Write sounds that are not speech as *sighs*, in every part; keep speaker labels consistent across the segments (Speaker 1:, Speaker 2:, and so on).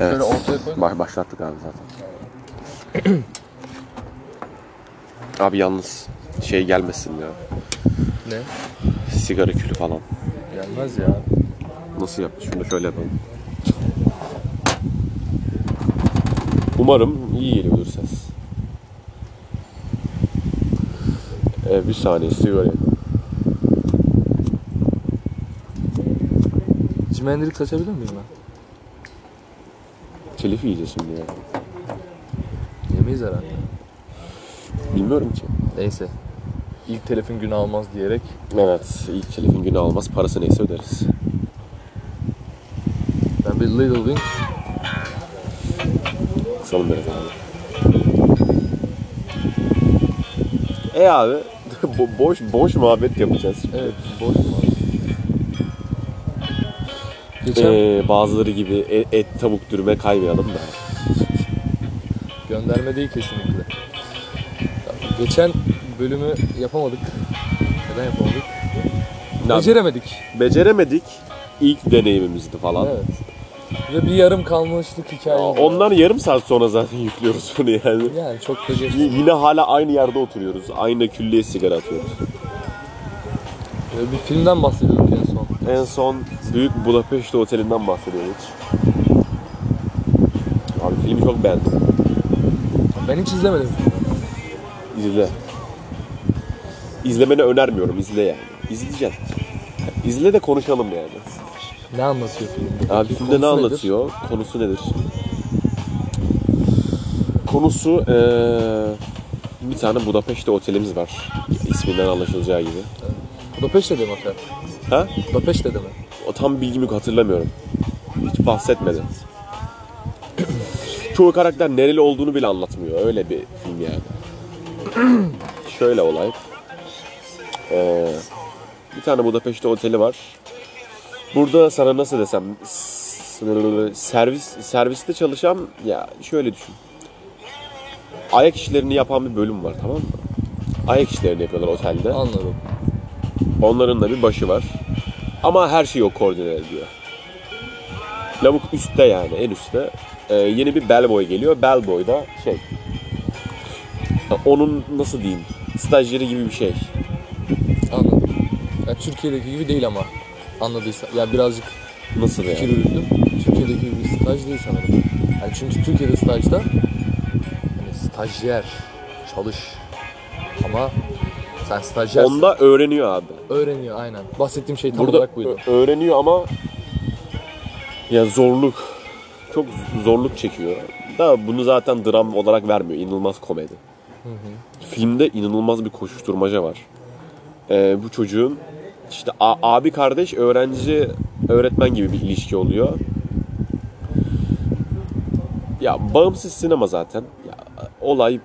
Speaker 1: Evet.
Speaker 2: Şöyle ortaya koy.
Speaker 1: Ba- başlattık abi zaten. *clears throat* abi yalnız şey gelmesin ya.
Speaker 2: Ne?
Speaker 1: Sigara külü falan.
Speaker 2: Gelmez ya.
Speaker 1: Nasıl yap? Şunu da şöyle yapalım. Umarım iyi geliyordur ses. Ee, bir saniye sigara yakın.
Speaker 2: Jimi Hendrix açabilir miyim ben?
Speaker 1: Telif yiyeceğiz şimdi ya.
Speaker 2: Yemeyiz herhalde.
Speaker 1: Bilmiyorum ki.
Speaker 2: Neyse. İlk telefon günü almaz diyerek
Speaker 1: Evet, ilk telifin günü almaz. Parası neyse öderiz.
Speaker 2: ben bir Little Wing
Speaker 1: Kısalım biraz abi. E abi, *laughs* bo- boş boş muhabbet yapacağız.
Speaker 2: evet boş mu? Geçen
Speaker 1: Ee, bazıları gibi e- et, tavuk dürüme kaymayalım da.
Speaker 2: gönderme değil kesinlikle. Ya, Geçen bölümü yapamadık. Neden yapamadık?
Speaker 1: Ne yap-
Speaker 2: Beceremedik.
Speaker 1: Beceremedik. İlk deneyimimizdi falan.
Speaker 2: Evet. Ve bir yarım kalmışlık
Speaker 1: Ya
Speaker 2: hikaye. var.
Speaker 1: Ondan yarım saat sonra zaten *laughs* yüklüyoruz bunu yani.
Speaker 2: Yani çok da geç.
Speaker 1: Y- yine hala aynı yerde oturuyoruz. Aynı külleye sigara atıyoruz.
Speaker 2: Ee, Bir filmden bahsediyorduk en son.
Speaker 1: En son Büyük Budapest Oteli'nden bahsediyoruz. Abi filmi çok beğendim.
Speaker 2: Ben hiç izlemedim.
Speaker 1: İzle. İzlemeni önermiyorum. izle yani. İzleyeceksin. İzle de konuşalım yani.
Speaker 2: Ne anlatıyor filmde?
Speaker 1: Abi filmde ne
Speaker 2: Konusu nedir?
Speaker 1: anlatıyor? Konusu nedir? Konusu eee, bir tane Budapeşte otelimiz var. İsminden anlaşılacağı gibi.
Speaker 2: Budapest'te de mi efendim?
Speaker 1: Ha?
Speaker 2: Budapest'te de mi?
Speaker 1: O tam bilgimi hatırlamıyorum. Hiç bahsetmedi. *clears throat* Çoğu karakter nereli olduğunu bile anlatmıyor. Öyle bir film yani. *clears throat* Şöyle olay. Ee, bir tane Budapeşte oteli var. Burada sana nasıl desem s- servis serviste çalışan ya şöyle düşün. Ayak işlerini yapan bir bölüm var tamam mı? Ayak işlerini yapıyorlar otelde.
Speaker 2: Anladım.
Speaker 1: Onların da bir başı var. Ama her şey o koordine ediyor. Lavuk üstte yani en üstte. Ee, yeni bir bellboy geliyor. Bellboy da şey... ya Onun nasıl diyeyim? Stajyeri gibi bir şey.
Speaker 2: Anladım. Ya Türkiye'deki gibi değil ama. Anladıysa. Ya birazcık
Speaker 1: Nasıl yani?
Speaker 2: fikir yürüdüm. Türkiye'deki gibi bir staj değil sanırım. Yani çünkü Türkiye'de stajda hani stajyer, çalış. Ama sen stajyersin.
Speaker 1: Onda öğreniyor abi.
Speaker 2: Öğreniyor aynen. Bahsettiğim şey tam
Speaker 1: Burada
Speaker 2: olarak buydu.
Speaker 1: ö- öğreniyor ama... Ya zorluk. Çok zorluk çekiyor. Da bunu zaten dram olarak vermiyor. İnanılmaz komedi.
Speaker 2: Hı hı.
Speaker 1: filmde inanılmaz bir koşuşturmaca var. Ee, bu çocuğun işte a- abi kardeş öğrenci öğretmen gibi bir ilişki oluyor. Ya bağımsız sinema zaten. Ya, olay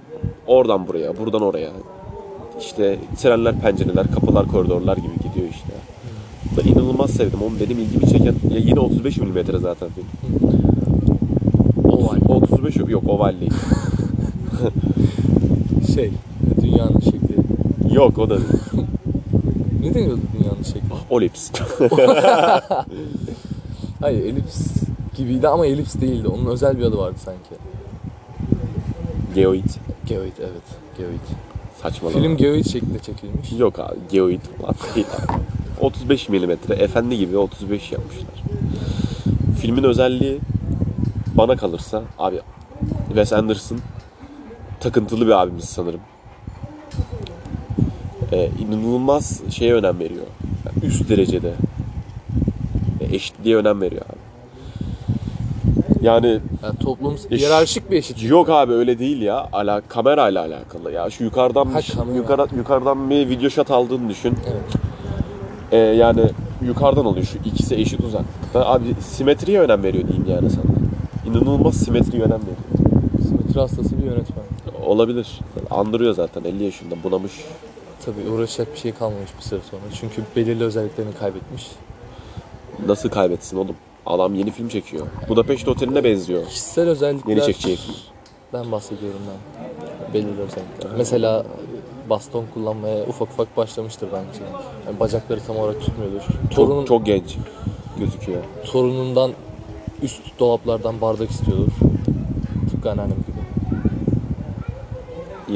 Speaker 1: oradan buraya, buradan oraya. İşte trenler, pencereler, kapılar, koridorlar gibi gidiyor işte. Da inanılmaz sevdim. Onun benim ilgimi çeken ya yine 35 mm zaten film.
Speaker 2: Oval.
Speaker 1: 35 yok oval değil.
Speaker 2: Şey, dünyanın şekli.
Speaker 1: Yok o da değil.
Speaker 2: Ne deniyordu dünyanın şekli?
Speaker 1: Olips. *laughs*
Speaker 2: Hayır elips gibiydi ama elips değildi. Onun özel bir adı vardı sanki.
Speaker 1: Geoid.
Speaker 2: Geoid evet. Geoid.
Speaker 1: Saçmalama.
Speaker 2: Film geoid şeklinde çekilmiş.
Speaker 1: Yok abi geoid falan *laughs* değil abi. 35 milimetre efendi gibi 35 yapmışlar. Filmin özelliği bana kalırsa abi Wes Anderson takıntılı bir abimiz sanırım. Ee, inanılmaz şeye önem veriyor. Yani üst derecede. E, eşitliğe önem veriyor abi. Yani
Speaker 2: Yani toplum
Speaker 1: Eş-
Speaker 2: hiyerarşik bir eşit.
Speaker 1: Yok abi öyle değil ya. Ala kamerayla alakalı ya. Şu yukarıdan
Speaker 2: Ha,
Speaker 1: bir, şey-
Speaker 2: kamera.
Speaker 1: yukarı, yukarıdan bir video shot aldığını düşün.
Speaker 2: Evet.
Speaker 1: Ee, yani yukarıdan oluyor şu ikisi eşit uzaklıkta. Abi simetriye önem veriyor diyeyim yani sana. İnanılmaz simetriye önem veriyor.
Speaker 2: Simetri hastası bir yönetmen.
Speaker 1: Olabilir. Andırıyor zaten 50 yaşında bunamış.
Speaker 2: Tabii uğraşacak bir şey kalmamış bir süre sonra. Çünkü belirli özelliklerini kaybetmiş.
Speaker 1: Nasıl kaybetsin oğlum? Adam yeni film çekiyor. Budapest Oteli'ne benziyor.
Speaker 2: Kişisel özellikler...
Speaker 1: Yeni çekeceği film.
Speaker 2: Ben bahsediyorum ben. Belirli özellikler. Mesela e, baston kullanmaya ufak ufak başlamıştır bence. Yani bacakları tam olarak tutmuyordur. Torunun,
Speaker 1: Çok, çok genç gözüküyor.
Speaker 2: Torunundan üst dolaplardan bardak istiyordur. Tıpkı anneannem gibi.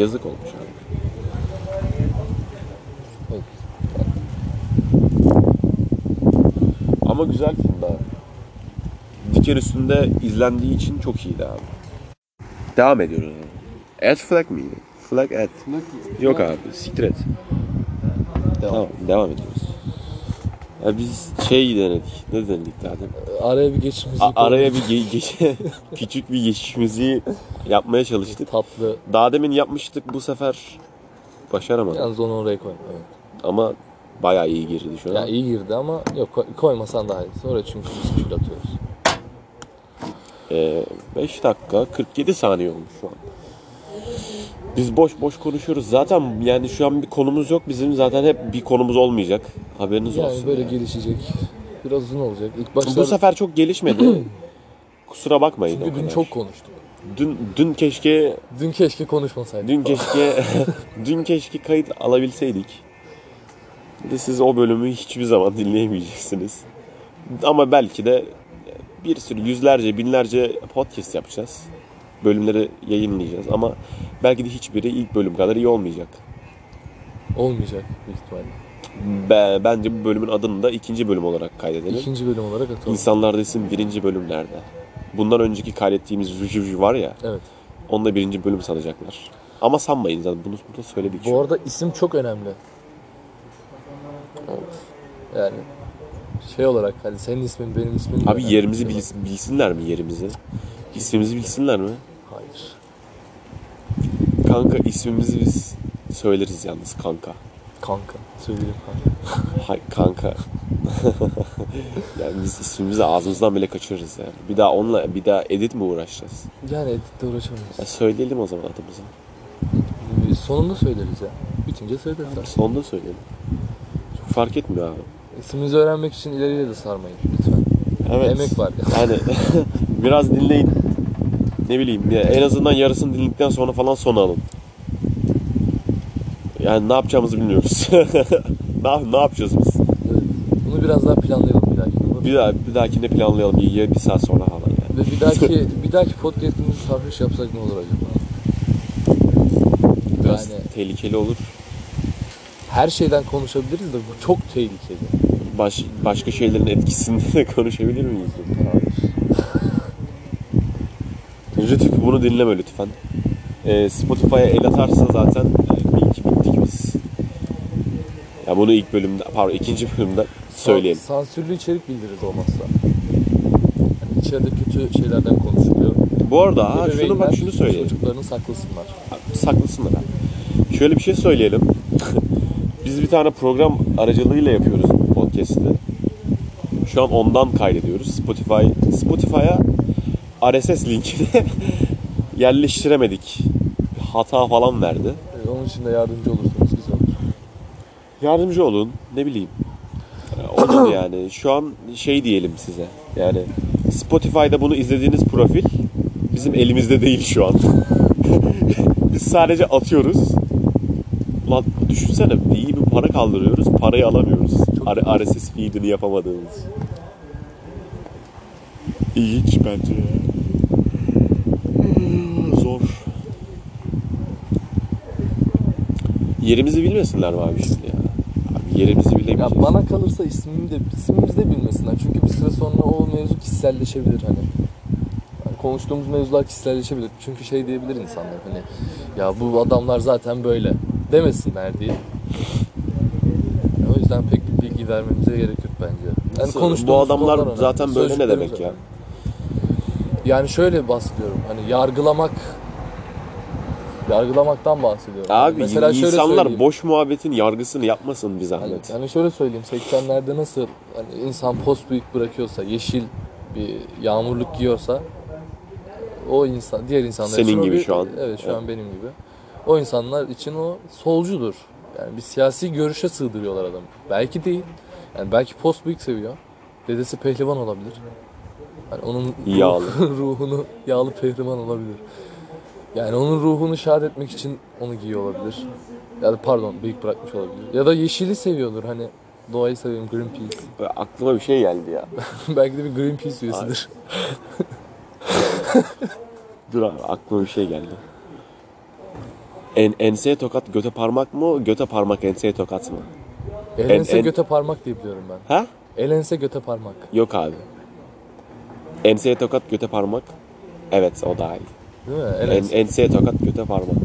Speaker 1: Yazık olmuş abi.
Speaker 2: Evet.
Speaker 1: Ama güzel filmdi abi. Diken üstünde izlendiği için çok iyiydi abi. Devam ediyoruz abi. Ed Flag mıydı? Flag Ed. Yok abi siktir et.
Speaker 2: Devam.
Speaker 1: Tamam devam ediyoruz. Ya biz şey denedik. Ne denedik daha demin?
Speaker 2: Araya bir geçimiz
Speaker 1: A- araya bir ge- *laughs* ge- küçük bir geçiş müziği yapmaya çalıştık.
Speaker 2: tatlı.
Speaker 1: Daha demin yapmıştık bu sefer başaramadık.
Speaker 2: Yalnız onu oraya koy. Evet.
Speaker 1: Ama bayağı iyi girdi şu an.
Speaker 2: Ya iyi girdi ama yok koy- koymasan daha iyi. Sonra çünkü biz küfür atıyoruz.
Speaker 1: Ee, 5 dakika 47 saniye olmuş şu an. Biz boş boş konuşuyoruz. Zaten yani şu an bir konumuz yok. Bizim zaten hep bir konumuz olmayacak. Haberiniz olsun.
Speaker 2: Yani böyle
Speaker 1: yani.
Speaker 2: gelişecek. Biraz uzun olacak. İlk başlarda
Speaker 1: Bu sefer çok
Speaker 2: *clears throat*
Speaker 1: gelişmedi. Kusura bakmayın o
Speaker 2: çünkü dün
Speaker 1: kadar.
Speaker 2: çok konuştuk.
Speaker 1: dün dün keşke
Speaker 2: Dün keşke konuşmasaydık.
Speaker 1: dün keşke *laughs* dün keşke kayıt alabilseydik. Bir De siz o bölümü hiçbir zaman dinleyemeyeceksiniz. Ama belki de bir sürü yüzlerce, binlerce podcast yapacağız. Bölümleri yayınlayacağız ama belki de hiçbiri ilk bölüm kadar iyi olmayacak.
Speaker 2: Olmayacak büyük ihtimalle.
Speaker 1: Be- bence bu bölümün adını da ikinci bölüm olarak kaydedelim.
Speaker 2: Hmm. İkinci bölüm olarak atalım.
Speaker 1: İnsanlar desin birinci bölüm nerede? Bundan önceki kaydettiğimiz Jujuvju var ya,
Speaker 2: Evet.
Speaker 1: onu da birinci bölüm sanacaklar. Ama sanmayın zaten bunu burada söyledik.
Speaker 2: Bu arada isim çok önemli. Yani şey olarak hani senin ismin benim ismim. de
Speaker 1: Abi
Speaker 2: önemli.
Speaker 1: yerimizi bilsin- bilsinler mi yerimizi? İsmimizi bilsinler mi?
Speaker 2: Hayır.
Speaker 1: Kanka ismimizi biz söyleriz yalnız kanka.
Speaker 2: Kanka. Söyleyeyim kanka.
Speaker 1: Hay kanka. *laughs* yani biz ismimizi ağzımızdan bile kaçırırız yani. Bir daha onunla bir daha edit mi uğraşacağız?
Speaker 2: Yani editle uğraşamayız.
Speaker 1: Ya söyleyelim o zaman adımızı.
Speaker 2: Biz Sonunda söyleriz ya. Bitince söyleriz artık.
Speaker 1: Sonunda söyleyelim. Çok fark etmiyor abi.
Speaker 2: İsmimizi öğrenmek için ileriye de sarmayın lütfen. Emek var ya.
Speaker 1: Yani *laughs* biraz dinleyin. Ne bileyim ya en azından yarısını dinledikten sonra falan son alın. Yani ne yapacağımızı bilmiyoruz. *laughs* ne, ne yapacağız biz?
Speaker 2: Evet. Bunu biraz daha planlayalım bir dahaki. olur mu?
Speaker 1: Bir, daha, bir dahakinde planlayalım. Bir, ya bir saat sonra falan yani.
Speaker 2: Ve bir dahaki bir dahaki podcast'imizi sarhoş yapsak ne olur acaba?
Speaker 1: Biraz
Speaker 2: Yani
Speaker 1: tehlikeli olur.
Speaker 2: her şeyden konuşabiliriz de bu çok tehlikeli.
Speaker 1: Baş, başka şeylerin etkisinde de *laughs* konuşabilir miyiz? Rütük bunu dinleme lütfen. Ee, Spotify'a el atarsa zaten e, bir iki bittik biz. Ya bunu ilk bölümde, pardon ikinci bölümde söyleyelim.
Speaker 2: Sa- Sansürlü içerik bildiririz olmazsa. Yani içeride kötü şeylerden konuşuluyor.
Speaker 1: Bu arada ha, şunu
Speaker 2: Ebeveynler
Speaker 1: bak şunu söyleyelim.
Speaker 2: Çocuklarını saklasınlar.
Speaker 1: Abi, Saklısınlar abi. Şöyle bir şey söyleyelim. *laughs* Biz bir tane program aracılığıyla yapıyoruz bu podcast'i. Şu an ondan kaydediyoruz. Spotify Spotify'a RSS linkini *laughs* yerleştiremedik. Hata falan verdi.
Speaker 2: Ee, onun için de yardımcı olursanız güzel olur.
Speaker 1: Yardımcı olun. Ne bileyim. Ee, Olun
Speaker 2: *clears throat*
Speaker 1: yani. Şu an şey diyelim size. Yani Spotify'da bunu izlediğiniz profil bizim elimizde değil şu an. *laughs* Biz sadece atıyoruz. Ulan düşünsene iyi bir para kaldırıyoruz. Parayı alamıyoruz. R- RSS feedini yapamadığımız. İlginç bence ya. Hmm, Zor. Yerimizi bilmesinler mi abi şimdi ya? Abi yerimizi
Speaker 2: Ya
Speaker 1: bilemeyeceğiz.
Speaker 2: bana kalırsa ismimi de ismimizi de bilmesinler. Çünkü bir süre sonra o mevzu kişiselleşebilir hani. Yani konuştuğumuz mevzular kişiselleşebilir. Çünkü şey diyebilir insanlar hani ya bu adamlar zaten böyle demesinler diye. Yani o yüzden pek bir bilgi vermemize gerek yok bence. Yani
Speaker 1: Nasıl? bu
Speaker 2: konuştuğumuz
Speaker 1: adamlar
Speaker 2: konular önemli.
Speaker 1: zaten böyle ne
Speaker 2: Sözcüklerimiz
Speaker 1: demek ya?
Speaker 2: önemli. Yani şöyle bahsediyorum. Hani yargılamak yargılamaktan bahsediyorum.
Speaker 1: Abi
Speaker 2: Mesela şöyle
Speaker 1: insanlar
Speaker 2: söyleyeyim.
Speaker 1: boş muhabbetin yargısını yapmasın bir
Speaker 2: Hani,
Speaker 1: zahmet.
Speaker 2: yani şöyle söyleyeyim 80'lerde nasıl hani insan post büyük bırakıyorsa yeşil bir yağmurluk giyiyorsa o insan diğer insanlar
Speaker 1: Senin
Speaker 2: için o
Speaker 1: gibi
Speaker 2: bir-
Speaker 1: şu an.
Speaker 2: evet şu
Speaker 1: Evet.
Speaker 2: an benim gibi o insanlar için o solcudur yani bir siyasi görüşe sığdırıyorlar adamı belki değil yani belki post büyük seviyor dedesi pehlivan olabilir yani onun
Speaker 1: Yağlı.
Speaker 2: *laughs* ruhunu yağlı pehlivan olabilir yani onun ruhunu şad etmek için onu giyiyor olabilir. Ya da pardon bıyık bırakmış olabilir. Ya da yeşili seviyordur hani. Doğayı seviyorum Greenpeace. *laughs*
Speaker 1: Böyle aklıma bir şey geldi ya. *laughs*
Speaker 2: Belki de bir Greenpeace üyesidir.
Speaker 1: Dur abi aklıma bir şey geldi. En, enseye tokat göte parmak mı? Göte parmak enseye tokat mı?
Speaker 2: Elense
Speaker 1: En- en-
Speaker 2: göte parmak diye biliyorum ben.
Speaker 1: Ha?
Speaker 2: Elense göte parmak.
Speaker 1: Yok abi. Enseye tokat göte parmak. Evet o daha iyi.
Speaker 2: Değil mi?
Speaker 1: En,
Speaker 2: Elense.
Speaker 1: enseye tokat göte parmak.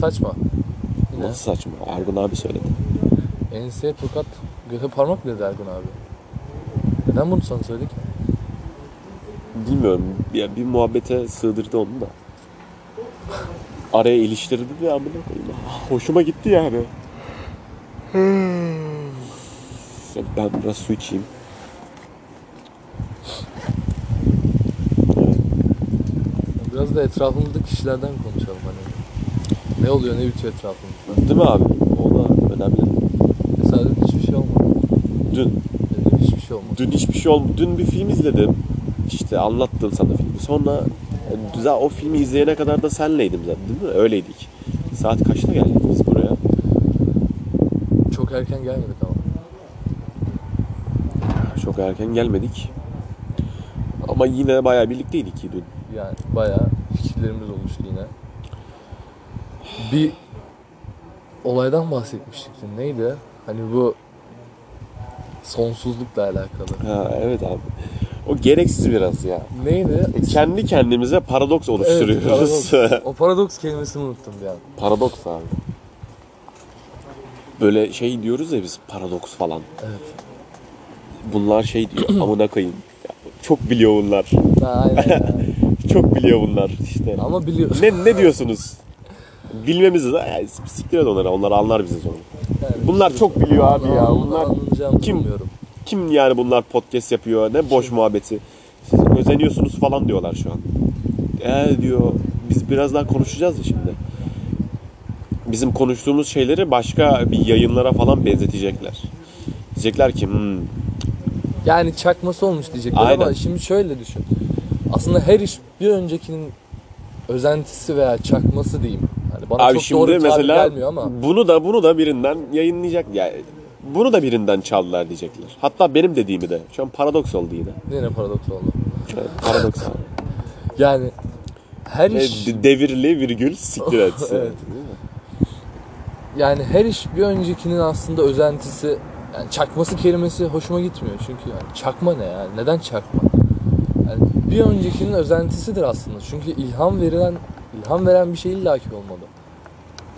Speaker 2: Saçma. Yine.
Speaker 1: Nasıl saçma? Argun abi söyledi.
Speaker 2: Enseye tokat göte parmak dedi Ergun abi. Neden bunu sana söyledik?
Speaker 1: Bilmiyorum. Ya bir muhabbete sığdırdı onu da. Araya iliştirdi ve amına koyayım. Ah, Hoşuma gitti yani. Ben biraz su içeyim. Evet.
Speaker 2: Biraz da etrafımızdaki kişilerden konuşalım hani. Ne oluyor ne bitiyor etrafımızda.
Speaker 1: Değil mi abi? O da önemli.
Speaker 2: Tesadüf hiçbir şey olmadı.
Speaker 1: Dün,
Speaker 2: Tesadüf hiçbir şey olmadı.
Speaker 1: dün hiçbir şey olmadı. Dün bir film izledim. İşte anlattım sana filmi. Sonra e, za- o filmi izleyene kadar da senleydim zaten değil mi? Öyleydik. Saat kaçta geldik biz buraya?
Speaker 2: Çok erken gelmedik ama.
Speaker 1: Çok erken gelmedik. Ama yine bayağı birlikteydik ki dün.
Speaker 2: Yani bayağı fikirlerimiz oluştu yine. Bir olaydan bahsetmiştik dün. Neydi? Hani bu sonsuzlukla alakalı.
Speaker 1: Ha, evet abi. O gereksiz biraz ya.
Speaker 2: Neydi?
Speaker 1: E, Kendi kendimize paradoks
Speaker 2: Evet,
Speaker 1: oluşturuyoruz.
Speaker 2: paradoks. o paradoks kelimesini unuttum bir an.
Speaker 1: *laughs* paradoks abi. Böyle şey diyoruz ya biz paradoks falan.
Speaker 2: Evet.
Speaker 1: Bunlar şey
Speaker 2: *clears throat*
Speaker 1: diyor amına koyayım. Ya, Çok biliyor bunlar.
Speaker 2: Ha, aynen ya.
Speaker 1: *laughs* Çok biliyor bunlar işte.
Speaker 2: Ama biliyorum.
Speaker 1: Ne ne diyorsunuz? Bilmemiz ya, siktir et onları. Onlar anlar bizi sonra.
Speaker 2: Yani
Speaker 1: Bunlar
Speaker 2: işte-
Speaker 1: çok biliyor abi ya.
Speaker 2: Anlamını
Speaker 1: Bunlar
Speaker 2: anlayacağımı
Speaker 1: kim?
Speaker 2: bilmiyorum.
Speaker 1: Kim yani bunlar podcast yapıyor? Ne
Speaker 2: Şey-
Speaker 1: boş muhabbeti. Siz özeniyorsunuz falan diyorlar şu an. Ee diyor biz birazdan konuşacağız ya şimdi. Bizim konuştuğumuz şeyleri başka bir yayınlara falan benzetecekler. Diyecekler ki "Hmm,
Speaker 2: Yani çakması olmuş diyecekler
Speaker 1: Aynen.
Speaker 2: ama şimdi şöyle düşün. Aslında her iş bir öncekinin özentisi veya çakması diyeyim. Yani bana
Speaker 1: abi
Speaker 2: çok
Speaker 1: şimdi
Speaker 2: doğru bir tabir
Speaker 1: mesela
Speaker 2: gelmiyor ama
Speaker 1: bunu da bunu da birinden yayınlayacak. Yani bunu da birinden çaldılar diyecekler. Hatta benim dediğimi de. Şu an paradoks oldu yine.
Speaker 2: yine paradoks oldu.
Speaker 1: Evet, paradoks.
Speaker 2: *laughs* Yani her
Speaker 1: Ve
Speaker 2: iş
Speaker 1: de- Devirli virgül siktir et.
Speaker 2: *laughs* Evet. yani her iş bir öncekinin aslında özentisi yani çakması kelimesi hoşuma gitmiyor çünkü yani çakma ne yani neden çakma? Yani bir öncekinin özentisidir aslında çünkü ilham verilen ilham veren bir şey illaki olmalı.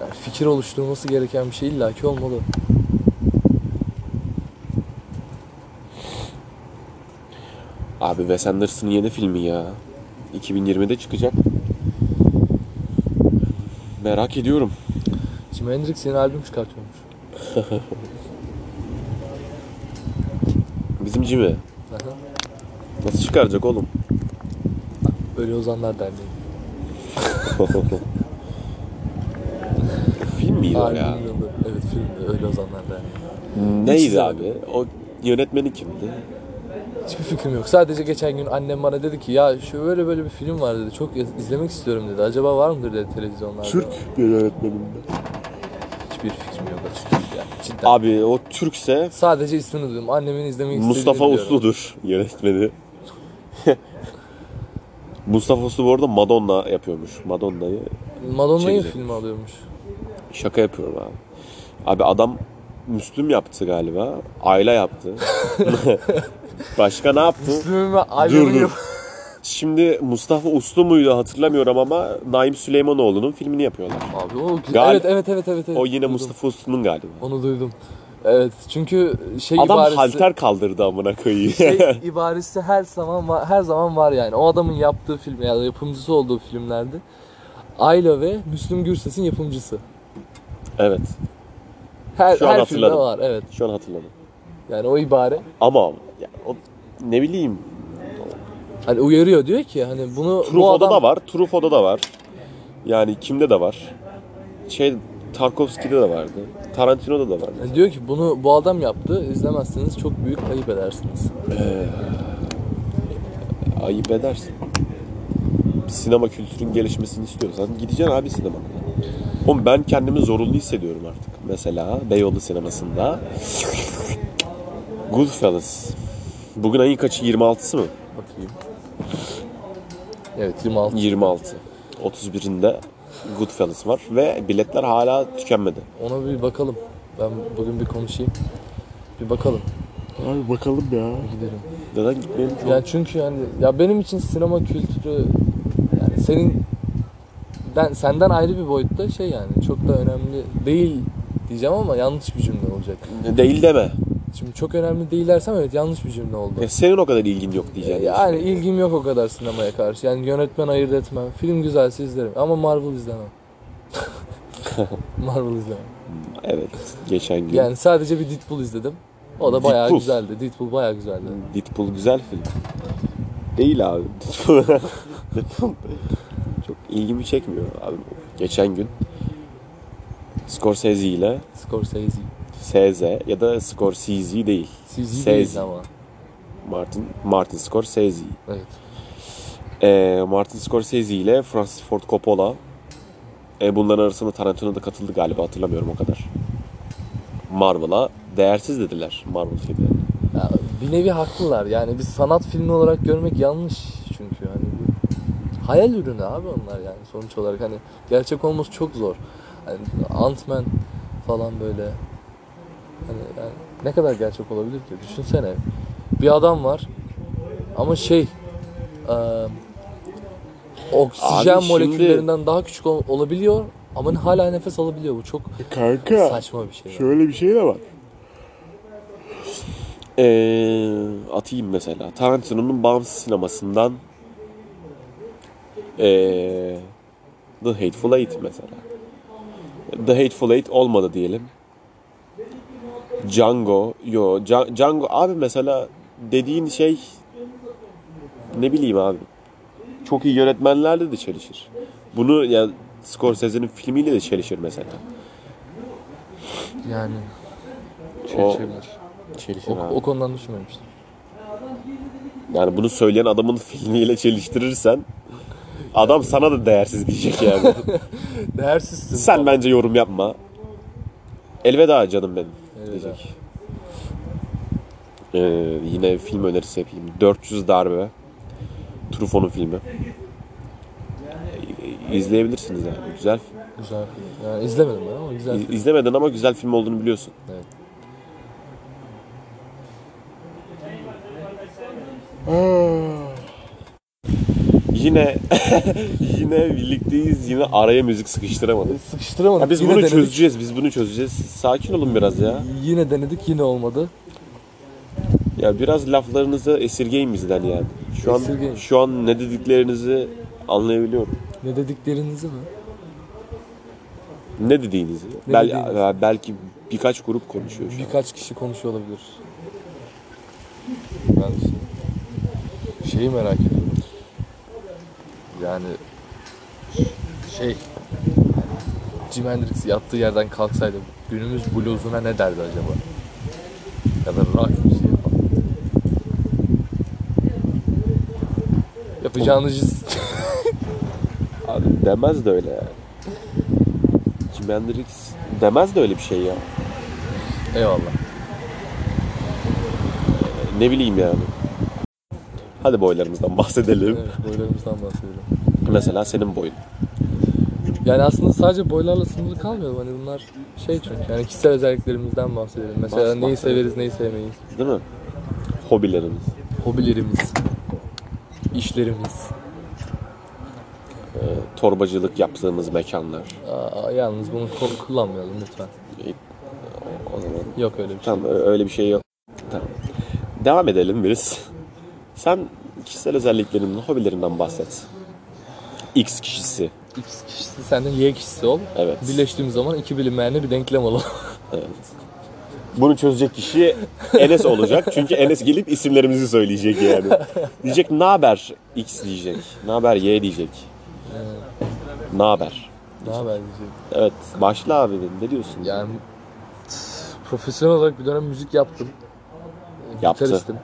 Speaker 2: Yani fikir oluşturması gereken bir şey illaki olmalı.
Speaker 1: Abi Wes Anderson'ın yeni filmi ya. 2020'de çıkacak. Merak ediyorum.
Speaker 2: Jimi Hendrix yeni albüm çıkartıyormuş.
Speaker 1: Bizim Jimmy.
Speaker 2: Aha.
Speaker 1: Nasıl çıkaracak oğlum? *laughs*
Speaker 2: Ölü Ozanlar Derneği.
Speaker 1: Film miydi o ya?
Speaker 2: Albümün adı. Evet film Ölü Ozanlar Derneği.
Speaker 1: Neydi
Speaker 2: İkisi
Speaker 1: abi? O yönetmeni kimdi?
Speaker 2: Hiçbir fikrim yok. Sadece geçen gün annem bana dedi ki ya şöyle böyle böyle bir film var dedi. Çok iz- izlemek istiyorum dedi. Acaba var mıdır dedi televizyonlarda.
Speaker 1: bir yönetmenimdi.
Speaker 2: Hiçbir fikrim yok açıkçası yani. Cidden.
Speaker 1: Abi o Türkse
Speaker 2: Sadece ismini duydum. Annemin izlemek istediğini
Speaker 1: Mustafa
Speaker 2: biliyorum.
Speaker 1: Uslu'dur yönetmeni. *laughs* Mustafa Uslu bu arada Madonna yapıyormuş. Madonna'yı
Speaker 2: Madonna'yı
Speaker 1: Çekecek.
Speaker 2: filmi alıyormuş.
Speaker 1: Şaka yapıyorum abi. Abi adam Müslüm yaptı galiba. Ayla
Speaker 2: *laughs*
Speaker 1: yaptı. Başka ne yaptı?
Speaker 2: Müslüm'ün ve
Speaker 1: Dur,
Speaker 2: albümü
Speaker 1: dur. Şimdi Mustafa Uslu muydu hatırlamıyorum ama Naim Süleymanoğlu'nun filmini yapıyorlar.
Speaker 2: Abi o güzel.
Speaker 1: Gal-
Speaker 2: evet, evet evet evet evet.
Speaker 1: O yine
Speaker 2: Duydum.
Speaker 1: Mustafa Uslu'nun galiba.
Speaker 2: Onu duydum. Evet çünkü şey
Speaker 1: Adam
Speaker 2: ibaresi...
Speaker 1: halter kaldırdı amına koyayım. *laughs*
Speaker 2: şey ibaresi her zaman var, her zaman var yani. O adamın yaptığı film ya da yapımcısı olduğu filmlerde Ayla ve Müslüm Gürses'in yapımcısı.
Speaker 1: evet.
Speaker 2: Her,
Speaker 1: Şu an
Speaker 2: her filmde
Speaker 1: hatırladım.
Speaker 2: var evet.
Speaker 1: Şu an hatırladım.
Speaker 2: Yani o ibare
Speaker 1: Ama ya, o, ne bileyim.
Speaker 2: hani uyarıyor diyor ki hani bunu bu
Speaker 1: Truffaut'da
Speaker 2: adam
Speaker 1: da var. Truffaut'da da var. Yani kimde de var. Şey Tarkovski'de de vardı. Tarantino'da da vardı.
Speaker 2: Hani diyor ki bunu bu adam yaptı. İzlemezseniz çok büyük kayıp edersiniz.
Speaker 1: ayıp edersin. Sinema kültürün gelişmesini istiyorsan gideceksin abi sinemaya. Oğlum ben kendimi zorunlu hissediyorum artık. Mesela Beyoğlu sinemasında Goodfellas. Bugün ayın kaçı? 26'sı mı?
Speaker 2: Bakayım. Evet 26.
Speaker 1: 26. 31'inde Goodfellas var ve biletler hala tükenmedi.
Speaker 2: Ona bir bakalım. Ben bugün bir konuşayım. Bir bakalım.
Speaker 3: Abi bakalım ya.
Speaker 2: Gidelim.
Speaker 1: Neden gitmeyelim ki?
Speaker 2: Ya çünkü yani ya benim için sinema kültürü yani senin ben senden ayrı bir boyutta şey yani çok da önemli değil diyeceğim ama yanlış bir cümle olacak.
Speaker 1: Değil deme.
Speaker 2: Şimdi çok önemli değil dersem evet yanlış bir cümle oldu.
Speaker 1: Ya senin o kadar ilgin yok diyeceksin.
Speaker 2: Yani ilgim yok o kadar sinemaya karşı. Yani yönetmen ayırt etmem. Film güzelse izlerim ama Marvel izlemem. Marvel izlemem.
Speaker 1: Evet. Geçen gün.
Speaker 2: Yani sadece bir Deadpool izledim. O da bayağı
Speaker 1: Deadpool.
Speaker 2: güzeldi. Deadpool bayağı güzeldi.
Speaker 1: Deadpool güzel film. Değil abi. *laughs* Deadpool çok ilgimi çekmiyor abi. Geçen gün Scorsese ile
Speaker 2: Scorsese.
Speaker 1: SZ ya da Scorsese değil.
Speaker 2: Sizi
Speaker 1: Sezi.
Speaker 2: değil ama.
Speaker 1: Martin Martin Scorsese.
Speaker 2: Evet.
Speaker 1: Ee, Martin Scorsese ile Francis Ford Coppola. Ee, bunların arasında Tarantino da katıldı galiba hatırlamıyorum o kadar. Marvel'a değersiz dediler Marvel filmleri.
Speaker 2: Ya, bir nevi haklılar. Yani biz sanat filmi olarak görmek yanlış çünkü yani. Hayal ürünü abi onlar yani sonuç olarak hani gerçek olması çok zor. Hani Ant-Man falan böyle hani yani ne kadar gerçek olabilir ki? Düşünsene. Bir adam var ama şey eee, oksijen
Speaker 1: Abi şimdi-
Speaker 2: moleküllerinden daha küçük ol- olabiliyor ama hala nefes alabiliyor. Bu çok
Speaker 3: Kanka
Speaker 2: saçma bir şey. yani.
Speaker 3: şöyle bir şey de var.
Speaker 1: Ee, atayım mesela. Tarantino'nun bağımsız sinemasından ee, The Hateful Eight mesela. The Hateful Eight olmadı diyelim. Django, yo Dja- Django abi mesela dediğin şey ne bileyim abi. Çok iyi yönetmenlerle de çelişir. Bunu ya Scorsese'nin filmiyle de çelişir mesela.
Speaker 2: Yani
Speaker 1: Çelişebilir. Çelişir
Speaker 2: O, o konudan düşünmemiştim.
Speaker 1: Yani bunu söyleyen adamın *laughs* filmiyle çeliştirirsen adam sana da değersiz diyecek yani.
Speaker 2: Değersizsin.
Speaker 1: Sen bence yorum yapma. Elveda canım benim diyecek. Ee, yine film önerisi yapayım. 400 darbe. Truffaut'un filmi. Ee, İzleyebilirsiniz yani. Güzel film.
Speaker 2: Güzel film. Yani izlemedim ben ama güzel
Speaker 1: İz-
Speaker 2: film.
Speaker 1: İzlemedin ama güzel film olduğunu biliyorsun.
Speaker 2: Evet.
Speaker 1: Yine *laughs* yine birlikteyiz. Yine araya müzik sıkıştıramadık.
Speaker 2: Sıkıştıramadık.
Speaker 1: Ya biz
Speaker 2: yine
Speaker 1: bunu
Speaker 2: denedik.
Speaker 1: çözeceğiz. Biz bunu çözeceğiz. Sakin olun biraz ya.
Speaker 2: Yine denedik yine olmadı.
Speaker 1: Ya biraz laflarınızı esirgeyin bizden yani. Şu an
Speaker 2: Esirgeyin.
Speaker 1: şu an ne dediklerinizi anlayabiliyorum.
Speaker 2: Ne dediklerinizi mi?
Speaker 1: Ne dediğinizi.
Speaker 2: Ne
Speaker 1: Bel-
Speaker 2: dediğinizi.
Speaker 1: ya belki birkaç grup konuşuyor şu an.
Speaker 2: Birkaç kişi konuşuyor olabilir. Ben şeyi merak ediyorum. Yani şey Jim Hendrix yattığı yerden kalksaydı günümüz bluzuna ne derdi acaba? Ya da rock müziği falan. Yapacağınız
Speaker 1: Abi demez de öyle ya. Jimi Hendrix demez de öyle bir şey ya.
Speaker 2: *laughs* Eyvallah.
Speaker 1: Ne bileyim yani. Hadi boylarımızdan bahsedelim.
Speaker 2: Evet, boylarımızdan bahsediyorum.
Speaker 1: Mesela senin boyun.
Speaker 2: Yani aslında sadece boylarla sınırlı kalmıyor. Hani bunlar şey çünkü yani kişisel özelliklerimizden bahsedelim. Mesela
Speaker 1: Bahs-
Speaker 2: neyi
Speaker 1: bahsedelim.
Speaker 2: severiz, neyi sevmeyiz.
Speaker 1: Değil mi? Hobilerimiz.
Speaker 2: Hobilerimiz, işlerimiz.
Speaker 1: e, Torbacılık yaptığımız mekanlar.
Speaker 2: Aa, yalnız bunu ko- kullanmayalım lütfen.
Speaker 1: O zaman
Speaker 2: Yok öyle bir şey.
Speaker 1: Tamam ö- öyle bir şey yok. Tamam. Devam edelim biraz. Sen kişisel özelliklerinden, hobilerinden bahset. X kişisi.
Speaker 2: X kişisi senden Y kişisi ol.
Speaker 1: Evet.
Speaker 2: Birleştiğim zaman iki bilinmeyenli bir
Speaker 1: *laughs*
Speaker 2: denklem olur.
Speaker 1: Evet. Bunu çözecek kişi Enes olacak. Çünkü Enes gelip isimlerimizi söyleyecek yani. Diyecek ne haber X diyecek. Ne haber Y diyecek. Ne haber?
Speaker 2: ne haber diyeceğim.
Speaker 1: Evet. Başla abi dedim. Ne diyorsun?
Speaker 2: Yani profesyonel olarak bir dönem müzik yaptım.
Speaker 1: Yaptı.
Speaker 2: Gitaristim.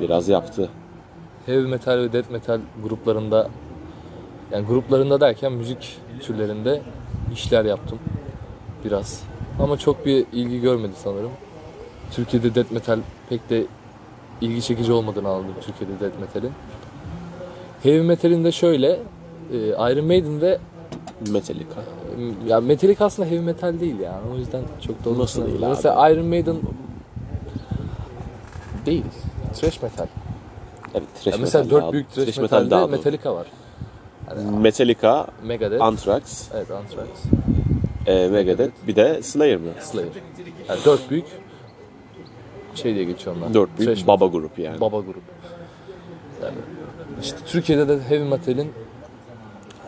Speaker 1: Biraz yaptı.
Speaker 2: heavy metal ve death metal gruplarında yani gruplarında derken müzik türlerinde işler yaptım biraz. Ama çok bir ilgi görmedi sanırım. Türkiye'de death metal pek de ilgi çekici olmadığını anladım Türkiye'de death metal'in. Heavy metal'in de şöyle e, Iron Maiden ve e,
Speaker 1: Metallica.
Speaker 2: ya Metallica aslında heavy metal değil yani. O yüzden çok da onun
Speaker 1: Nasıl
Speaker 2: üstüne-
Speaker 1: değil abi?
Speaker 2: Mesela Iron Maiden değil. Thrash metal.
Speaker 1: Evet, thrash
Speaker 2: Ya mesela
Speaker 1: metal
Speaker 2: dört
Speaker 1: daha-
Speaker 2: büyük thrash,
Speaker 1: thrash metal
Speaker 2: metalde
Speaker 1: daha doğru.
Speaker 2: Metallica var.
Speaker 1: Metallica,
Speaker 2: Megadeth.
Speaker 1: Anthrax,
Speaker 2: evet Anthrax.
Speaker 1: e, Megadeth, bir de Slayer mı?
Speaker 2: Slayer. Yani dört büyük şey diye geçiyor onlar.
Speaker 1: Dört büyük
Speaker 2: Thrash
Speaker 1: baba grup yani.
Speaker 2: baba grup. Yani işte Türkiye'de de heavy metal'in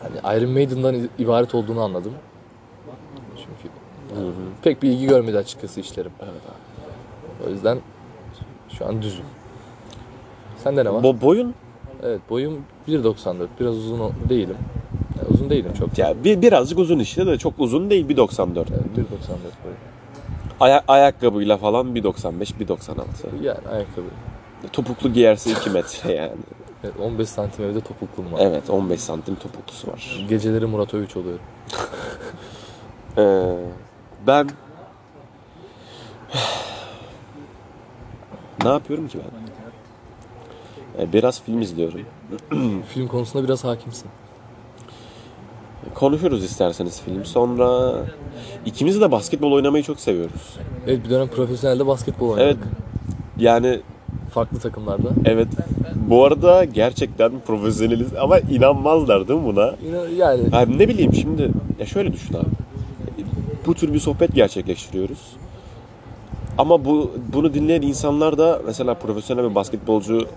Speaker 2: hani Iron Maiden'dan i- ibaret olduğunu anladım. Çünkü yani pek bir ilgi görmedi açıkçası işlerim. O yüzden şu an düzüm. Sende ne var?
Speaker 1: Bo- boyun
Speaker 2: evet boyum 1.94. Biraz uzun o- değilim. Yani uzun değilim çok.
Speaker 1: ya bir, birazcık uzun işte de çok uzun değil 1.94.
Speaker 2: Yani 1.94 boyum.
Speaker 1: Aya- ayakkabıyla falan 1.95 1.96.
Speaker 2: Yani ayakkabı.
Speaker 1: Topuklu giyerse 2 metre *laughs* yani.
Speaker 2: Evet, 15 santim evde topuklum var.
Speaker 1: Evet 15 santim topuklusu var.
Speaker 2: Geceleri Murat Övüç oluyor.
Speaker 1: Ee, ben *sighs* ne yapıyorum ki ben? Ee, Biraz film izliyorum.
Speaker 2: Film konusunda biraz hakimsin.
Speaker 1: Konuşuruz isterseniz film. Sonra ikimiz de basketbol oynamayı çok seviyoruz.
Speaker 2: Evet bir dönem profesyonelde basketbol oynadık.
Speaker 1: Evet. Yani
Speaker 2: Farklı takımlarda.
Speaker 1: evet. Bu arada gerçekten profesyoneliz ama inanmazlar değil mi buna?
Speaker 2: Yine yani
Speaker 1: Abi ne bileyim şimdi ya şöyle düşün abi. Bu tür bir sohbet gerçekleştiriyoruz. Ama bu bunu dinleyen insanlar da mesela profesyonel bir basketbolcu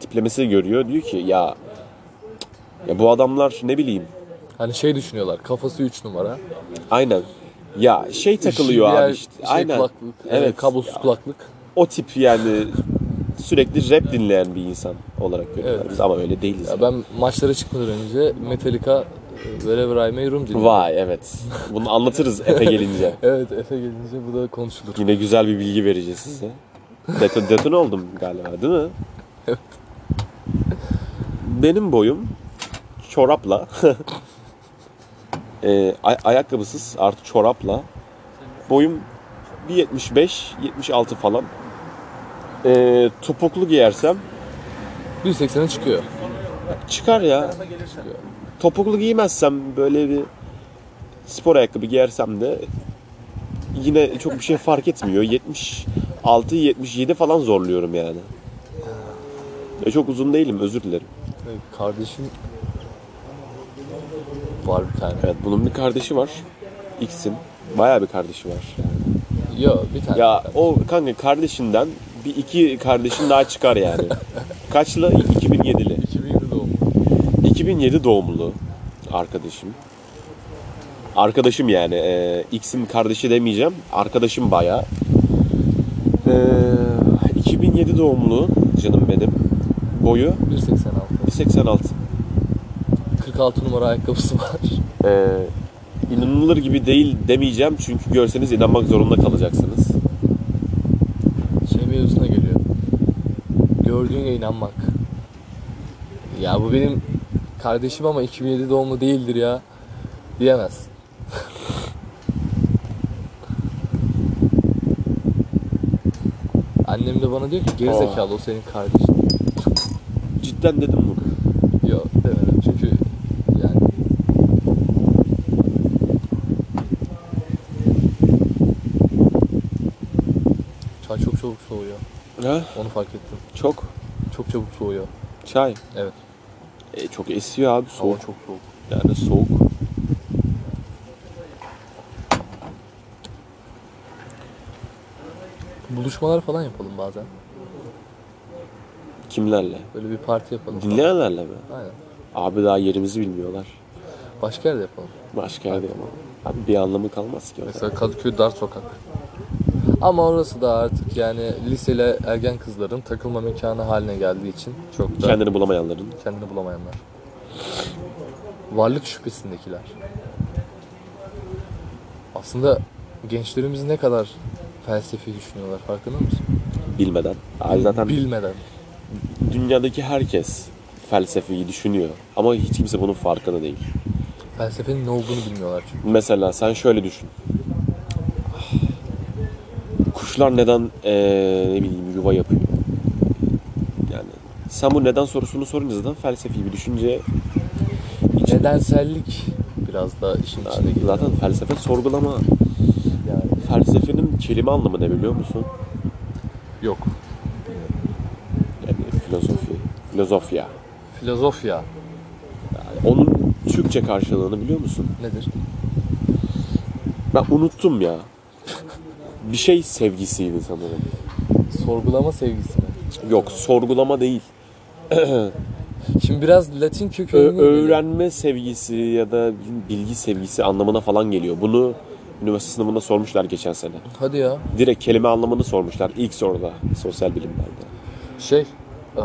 Speaker 1: tiplemesi görüyor. Diyor ki ya ya bu adamlar ne bileyim
Speaker 2: hani şey düşünüyorlar. Kafası 3 numara.
Speaker 1: aynen ya şey takılıyor
Speaker 2: Diğer
Speaker 1: abi işte.
Speaker 2: Şey,
Speaker 1: aynen.
Speaker 2: Kulaklık, evet.
Speaker 1: evet.
Speaker 2: Kablosuz
Speaker 1: Ya,
Speaker 2: kulaklık.
Speaker 1: o tip yani sürekli rap dinleyen bir insan olarak görüyorlar
Speaker 2: Evet.
Speaker 1: biz ama öyle değiliz.
Speaker 2: Ya
Speaker 1: yani.
Speaker 2: ben maçlara çıkmadan önce Metallica e, Wherever I May Roam dinledim.
Speaker 1: Vay evet. Bunu anlatırız Efe gelince.
Speaker 2: Evet Efe gelince bu da konuşulur.
Speaker 1: Yine güzel bir bilgi vereceğiz size. Deton, deton oldum galiba değil mi?
Speaker 2: Evet.
Speaker 1: Benim boyum çorapla *laughs* e, ay- ayakkabısız artı çorapla boyum 1.75-76 falan. E, topuklu giyersem
Speaker 2: 1.80'e çıkıyor.
Speaker 1: çıkar ya. Topuklu giymezsem böyle bir spor ayakkabı giyersem de yine çok bir şey fark etmiyor. 76 77 falan zorluyorum yani. E çok uzun değilim özür dilerim.
Speaker 2: Evet, kardeşim var bir tane.
Speaker 1: Evet bunun bir kardeşi var. X'in. Bayağı bir kardeşi var.
Speaker 2: Yok bir tane.
Speaker 1: Ya o kanka kardeşinden bir iki kardeşin daha çıkar *laughs* yani. Kaçlı? 2007'li.
Speaker 2: 2007 doğumlu.
Speaker 1: 2007 doğumlu arkadaşım. Arkadaşım yani. e, X'in kardeşi demeyeceğim. Arkadaşım bayağı. E, 2007 doğumlu canım benim. Boyu
Speaker 2: 1.86.
Speaker 1: 1.86.
Speaker 2: 46 numara ayakkabısı var.
Speaker 1: E, inanılır gibi değil demeyeceğim. Çünkü görseniz inanmak zorunda kalacaksınız.
Speaker 2: Şey mevzusuna geliyor. Gördüğüne inanmak. Ya bu benim kardeşim ama 2007 doğumlu değildir ya. Diyemez. *laughs* Annem de bana diyor ki geri zekalı o senin kardeşin.
Speaker 1: Cidden dedim bunu.
Speaker 2: Yok demedim çünkü yani Çay çok çabuk soğuyor.
Speaker 1: Ha?
Speaker 2: Onu fark ettim.
Speaker 1: Çok.
Speaker 2: Çok çabuk soğuyor.
Speaker 1: Çay.
Speaker 2: Evet.
Speaker 1: E, çok esiyor abi. Soğuk.
Speaker 2: Hava çok soğuk.
Speaker 1: Yani soğuk.
Speaker 2: Buluşmalar falan yapalım bazen.
Speaker 1: Kimlerle?
Speaker 2: Böyle bir parti yapalım. falan.
Speaker 1: Dinleyenlerle mi?
Speaker 2: Aynen.
Speaker 1: Abi daha yerimizi bilmiyorlar.
Speaker 2: Başka yerde yapalım.
Speaker 1: Başka yerde yapalım. Abi bir anlamı kalmaz ki. o zaman.
Speaker 2: Mesela Kadıköy Dar Sokak. Ama orası da artık yani liseyle ergen kızların takılma mekanı haline geldiği için çok da
Speaker 1: Kendini bulamayanların.
Speaker 2: kendini bulamayanlar. Varlık şüphesindekiler. Aslında gençlerimiz ne kadar felsefi düşünüyorlar farkında mısın?
Speaker 1: bilmeden. Abi zaten
Speaker 2: Bilmeden.
Speaker 1: dünyadaki herkes felsefeyi düşünüyor ama hiç kimse bunun farkında değil.
Speaker 2: Felsefenin ne olduğunu bilmiyorlar çünkü.
Speaker 1: Mesela sen şöyle düşün. Kuş kuşlar neden eee, ne bileyim yuva yapıyor? Yani sen bu neden sorusunu sorunca zaten felsefi bir düşünce için-
Speaker 2: Nedensellik biraz da işin içine geliyor.
Speaker 1: Zaten felsefe sorgulama.
Speaker 2: Yani
Speaker 1: Felsefenin kelime anlamı ne biliyor musun?
Speaker 2: yok.
Speaker 1: Yani filozofi, filozofya.
Speaker 2: Filozofya
Speaker 1: Yani onun Türkçe karşılığını biliyor musun?
Speaker 2: nedir?
Speaker 1: Ben unuttum ya. Bir şey sevgisiydi sanırım.
Speaker 2: Sorgulama sevgisi mi?
Speaker 1: Yok sorgulama değil.
Speaker 2: Şimdi biraz Latin
Speaker 1: Ö-
Speaker 2: kökenli.
Speaker 1: öğrenme sevgisi ya da bilgi sevgisi anlamına falan geliyor. Bunu üniversite sınavında sormuşlar geçen sene.
Speaker 2: Hadi ya.
Speaker 1: Direkt kelime anlamını sormuşlar ilk soruda sosyal bilimlerde.
Speaker 2: Şey, eee,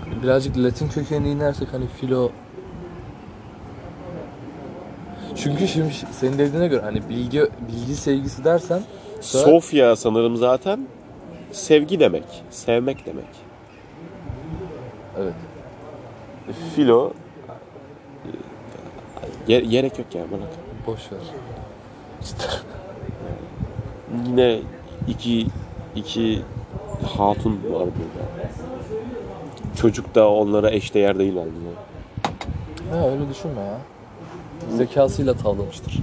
Speaker 2: hani birazcık Latin kökenine inersek hani filo... Çünkü şimdi ş- senin dediğine göre hani bilgi bilgi sevgisi dersen sonra
Speaker 1: Sofya sanırım zaten sevgi demek, sevmek demek.
Speaker 2: evet.
Speaker 1: E, Filo Ge- gerek yok ya bırak.
Speaker 2: Boş ver.
Speaker 1: Yine iki iki hatun var burada. Çocuk da onlara eşdeğer değil halbuki.
Speaker 2: Ha öyle düşünme ya. Zekasıyla tavlamıştır.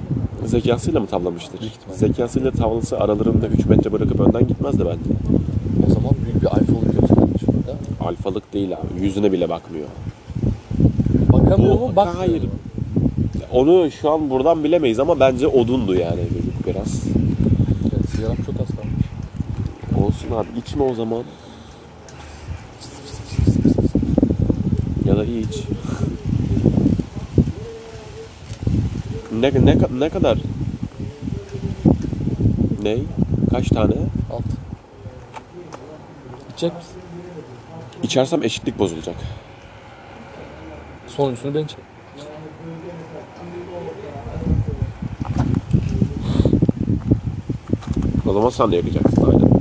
Speaker 1: Zekasıyla mı tavlamıştır?
Speaker 2: Büyük ihtimalle.
Speaker 1: Zekasıyla tavlası aralarında 3 metre bırakıp önden gitmez de bence.
Speaker 2: O zaman büyük bir iPhone göstermiş burada.
Speaker 1: Alfalık değil abi. Yüzüne bile bakmıyor.
Speaker 2: Bakamıyor
Speaker 1: Bu-
Speaker 2: mu? Bak.
Speaker 1: hayır. Onu şu an buradan bilemeyiz ama bence odundu yani çocuk biraz.
Speaker 2: Evet, sigaram çok az kalmış.
Speaker 1: Olsun abi içme o zaman. Ya da iyi iç. Ne, ne, ne kadar? Ne? Kaç tane?
Speaker 2: Alt. İçecek misin?
Speaker 1: İçersem eşitlik bozulacak.
Speaker 2: Sonuncusunu ben içeyim.
Speaker 1: O zaman sen de yakacaksın aynen.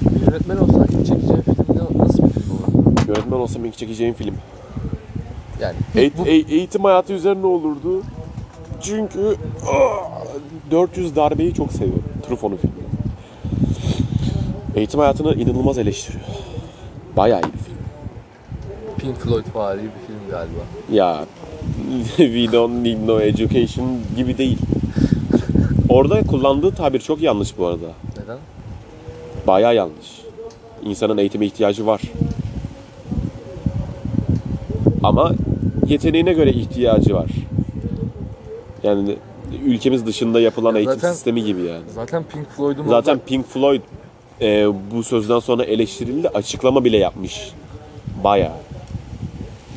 Speaker 2: Bir Yönetmen olsan ilk çekeceğin film ne- nasıl bir film olur?
Speaker 1: Öğretmen olsam ilk çekeceğim film.
Speaker 2: Yani
Speaker 1: Eğit- e- eğitim hayatı üzerine olurdu. Çünkü ah, 400 darbeyi çok seviyorum. Truffaut'un filmi. Eğitim hayatını inanılmaz eleştiriyor. Bayağı iyi bir film.
Speaker 2: Pink Floyd vari bir film galiba.
Speaker 1: Ya *laughs* we don't need no education gibi değil. Orada kullandığı tabir çok yanlış bu arada.
Speaker 2: Neden?
Speaker 1: Bayağı yanlış. İnsanın eğitime ihtiyacı var. Ama yeteneğine göre ihtiyacı var. Yani ülkemiz dışında yapılan
Speaker 2: Ya
Speaker 1: eğitim
Speaker 2: zaten-
Speaker 1: sistemi gibi yani.
Speaker 2: Zaten Pink Floyd'un
Speaker 1: Zaten
Speaker 2: orada-
Speaker 1: Pink Floyd e, bu sözden sonra eleştirildi. Açıklama bile yapmış. Bayağı.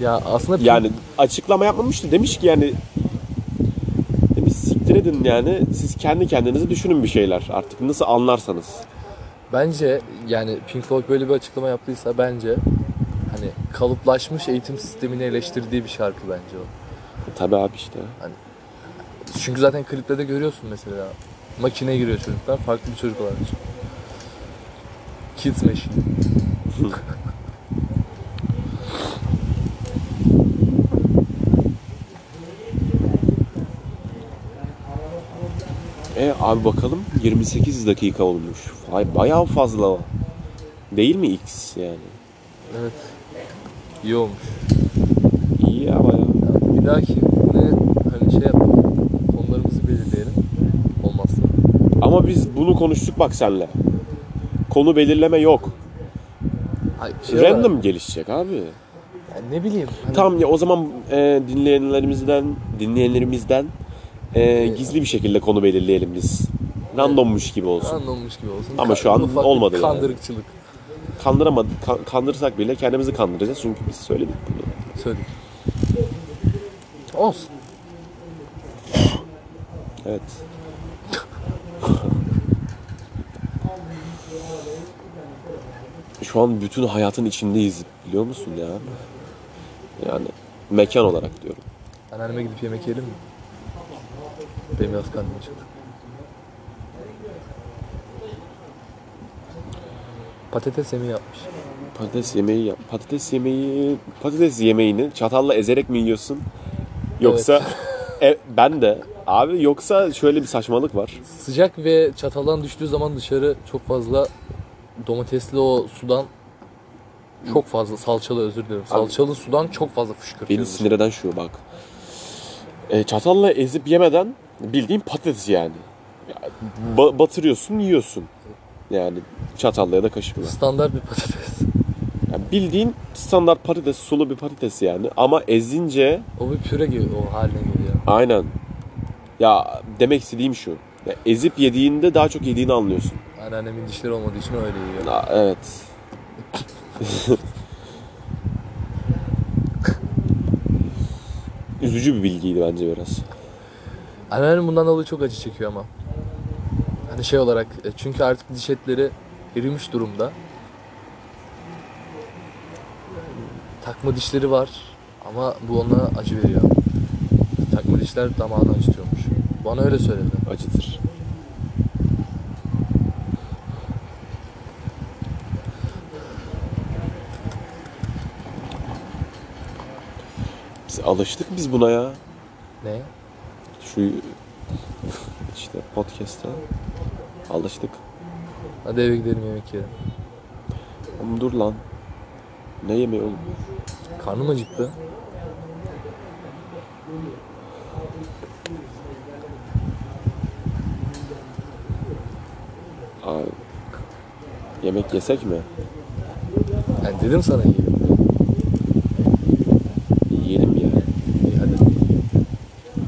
Speaker 2: ya aslında Pink-
Speaker 1: Yani açıklama yapmamıştı. Demiş ki yani "Ya bir siktir edin yani. Siz kendi kendinize düşünün bir şeyler. Artık nasıl anlarsanız.
Speaker 2: bence yani Pink Floyd böyle bir açıklama yaptıysa bence hani kalıplaşmış eğitim sistemini eleştirdiği bir şarkı bence o.
Speaker 1: E, Tabii abi işte.
Speaker 2: Çünkü zaten klipte de görüyorsun mesela. Makine giriyor çocuklar, farklı bir çocuk olarak. çıkıyor. Kids machine.
Speaker 1: E abi bakalım 28 dakika olmuş. Vay bayağı fazla. Değil mi X yani?
Speaker 2: Evet. İyi olmuş.
Speaker 1: İyi ya bayağı.
Speaker 2: Yani bir dahaki ne hani şey yapalım. Konularımızı belirleyelim. Olmazsa.
Speaker 1: Ama biz bunu konuştuk bak senle. Konu belirleme yok.
Speaker 2: Ay,
Speaker 1: Random gelişecek abi.
Speaker 2: Yani ne bileyim. Hani
Speaker 1: Tamam ya o zaman e, dinleyenlerimizden dinleyenlerimizden e, gizli bir şekilde konu belirleyelim biz. Randommuş gibi olsun.
Speaker 2: Anlamış gibi olsun.
Speaker 1: Ama şu an
Speaker 2: ufak bir
Speaker 1: olmadı yani.
Speaker 2: Kandırıkçılık.
Speaker 1: Kandıramadık, kan- kandırsak bile kendimizi kandıracağız çünkü biz söyledik bunu.
Speaker 2: Söyledik. Olsun.
Speaker 1: Evet. Şu an bütün hayatın içindeyiz biliyor musun ya? Yani mekan olarak diyorum.
Speaker 2: Anneanneme gidip yemek yiyelim mi? Benim biraz karnım acıktı. Patates yemeği yapmış.
Speaker 1: Patates yemeği yap. Patates yemeği, patates yemeğini çatalla ezerek mi yiyorsun? Yoksa *laughs* E, ben de abi yoksa şöyle bir saçmalık var.
Speaker 2: Sıcak ve çataldan düştüğü zaman dışarı çok fazla domatesli o sudan çok fazla salçalı özür dilerim. Salçalı sudan çok fazla
Speaker 1: Beni
Speaker 2: fışkırtıyor.
Speaker 1: sinir eden şu bak. E, çatalla ezip yemeden bildiğin patates yani. Ya, ba- batırıyorsun, yiyorsun. Yani çatalla ya da kaşıkla.
Speaker 2: Standart bir patates.
Speaker 1: Yani bildiğin standart patates, sulu bir patates yani. Ama ezince
Speaker 2: O bir püre gibi o haline geliyor.
Speaker 1: aynen. Ya demek istediğim şu. Ya ezip yediğinde daha çok yediğini anlıyorsun.
Speaker 2: Anneannemin dişleri olmadığı için öyle yiyor.
Speaker 1: Aa, evet. *laughs* Üzücü bir bilgiydi bence biraz.
Speaker 2: Anneannem bundan dolayı çok acı çekiyor ama. Hani şey olarak e, çünkü artık diş etleri erimiş durumda. Takma dişleri var ama bu ona acı veriyor. Takma dişler damağını acıtıyormuş. Bana öyle söyledi.
Speaker 1: Acıdır. Biz alıştık biz buna ya.
Speaker 2: Ne?
Speaker 1: Şu işte podcast'a alıştık.
Speaker 2: Hadi eve gidelim yemek yiyelim.
Speaker 1: Ama dur lan. Ne yemeği oğlum?
Speaker 2: Karnım acıktı.
Speaker 1: Abi. Yemek yesek mi?
Speaker 2: Yani dedim sana yiyelim.